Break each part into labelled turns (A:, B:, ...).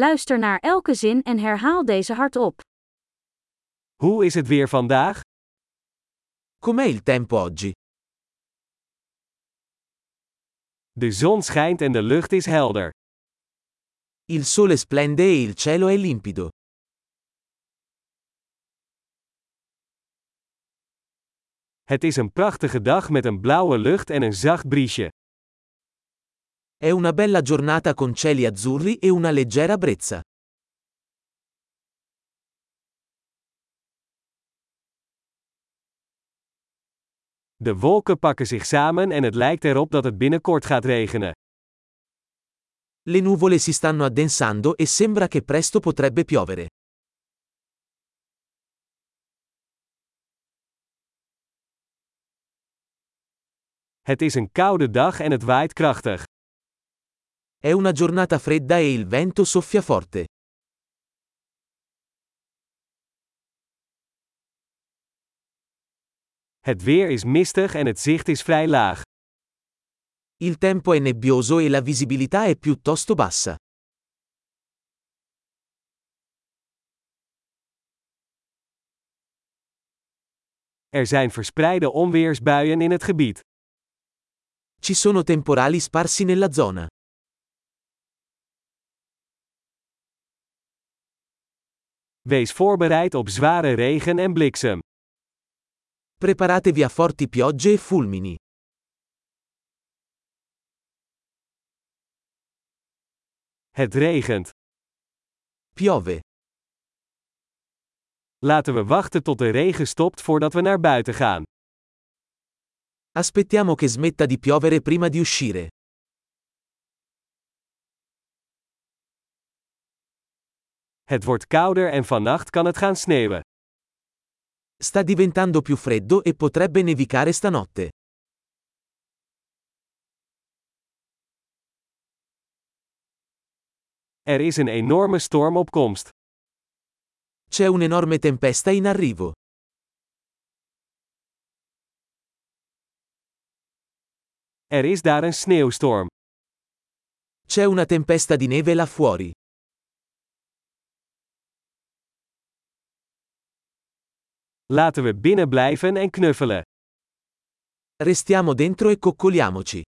A: Luister naar elke zin en herhaal deze hardop.
B: Hoe is het weer vandaag?
C: Com'è il tempo oggi?
B: De zon schijnt en de lucht is helder.
C: Il sole splende e il cielo è limpido.
B: Het is een prachtige dag met een blauwe lucht en een zacht briesje.
C: È una bella giornata con cieli azzurri e una leggera brezza.
B: De wolken pakken zich samen en het lijkt erop dat het binnenkort gaat regenen.
C: Le nuvole si stanno addensando e sembra che presto potrebbe piovere.
B: Het is een koude dag en het waait krachtig.
C: È una giornata fredda e il vento soffia forte.
B: Het weer is mistig en het zicht is vrij laag.
C: Il tempo è nebbioso e la visibilità è piuttosto bassa.
B: Er zijn verspreide onweersbuien in het gebied.
C: Ci sono temporali sparsi nella zona.
B: Wees voorbereid op zware regen en bliksem.
C: Preparatevi a forti piogge e fulmini.
B: Het regent.
C: Piove.
B: Laten we wachten tot de regen stopt voordat we naar buiten gaan.
C: Aspettiamo che smetta di piovere prima di uscire.
B: Het wordt kouder en vannacht kan het gaan sneeuwen.
C: Sta diventando più freddo e potrebbe nevicare stanotte.
B: Er is een enorme storm op komst.
C: C'è un'enorme tempesta in arrivo.
B: Er is daar een sneeuwstorm.
C: C'è una tempesta di neve là fuori.
B: Laten we binnen blijven en knuffelen.
C: Restiamo dentro e coccoliamoci.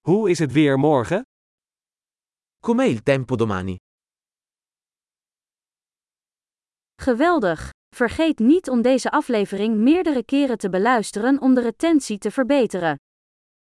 B: Hoe is het weer morgen?
C: Com'è il tempo domani?
A: Geweldig! Vergeet niet om deze aflevering meerdere keren te beluisteren om de retentie te verbeteren.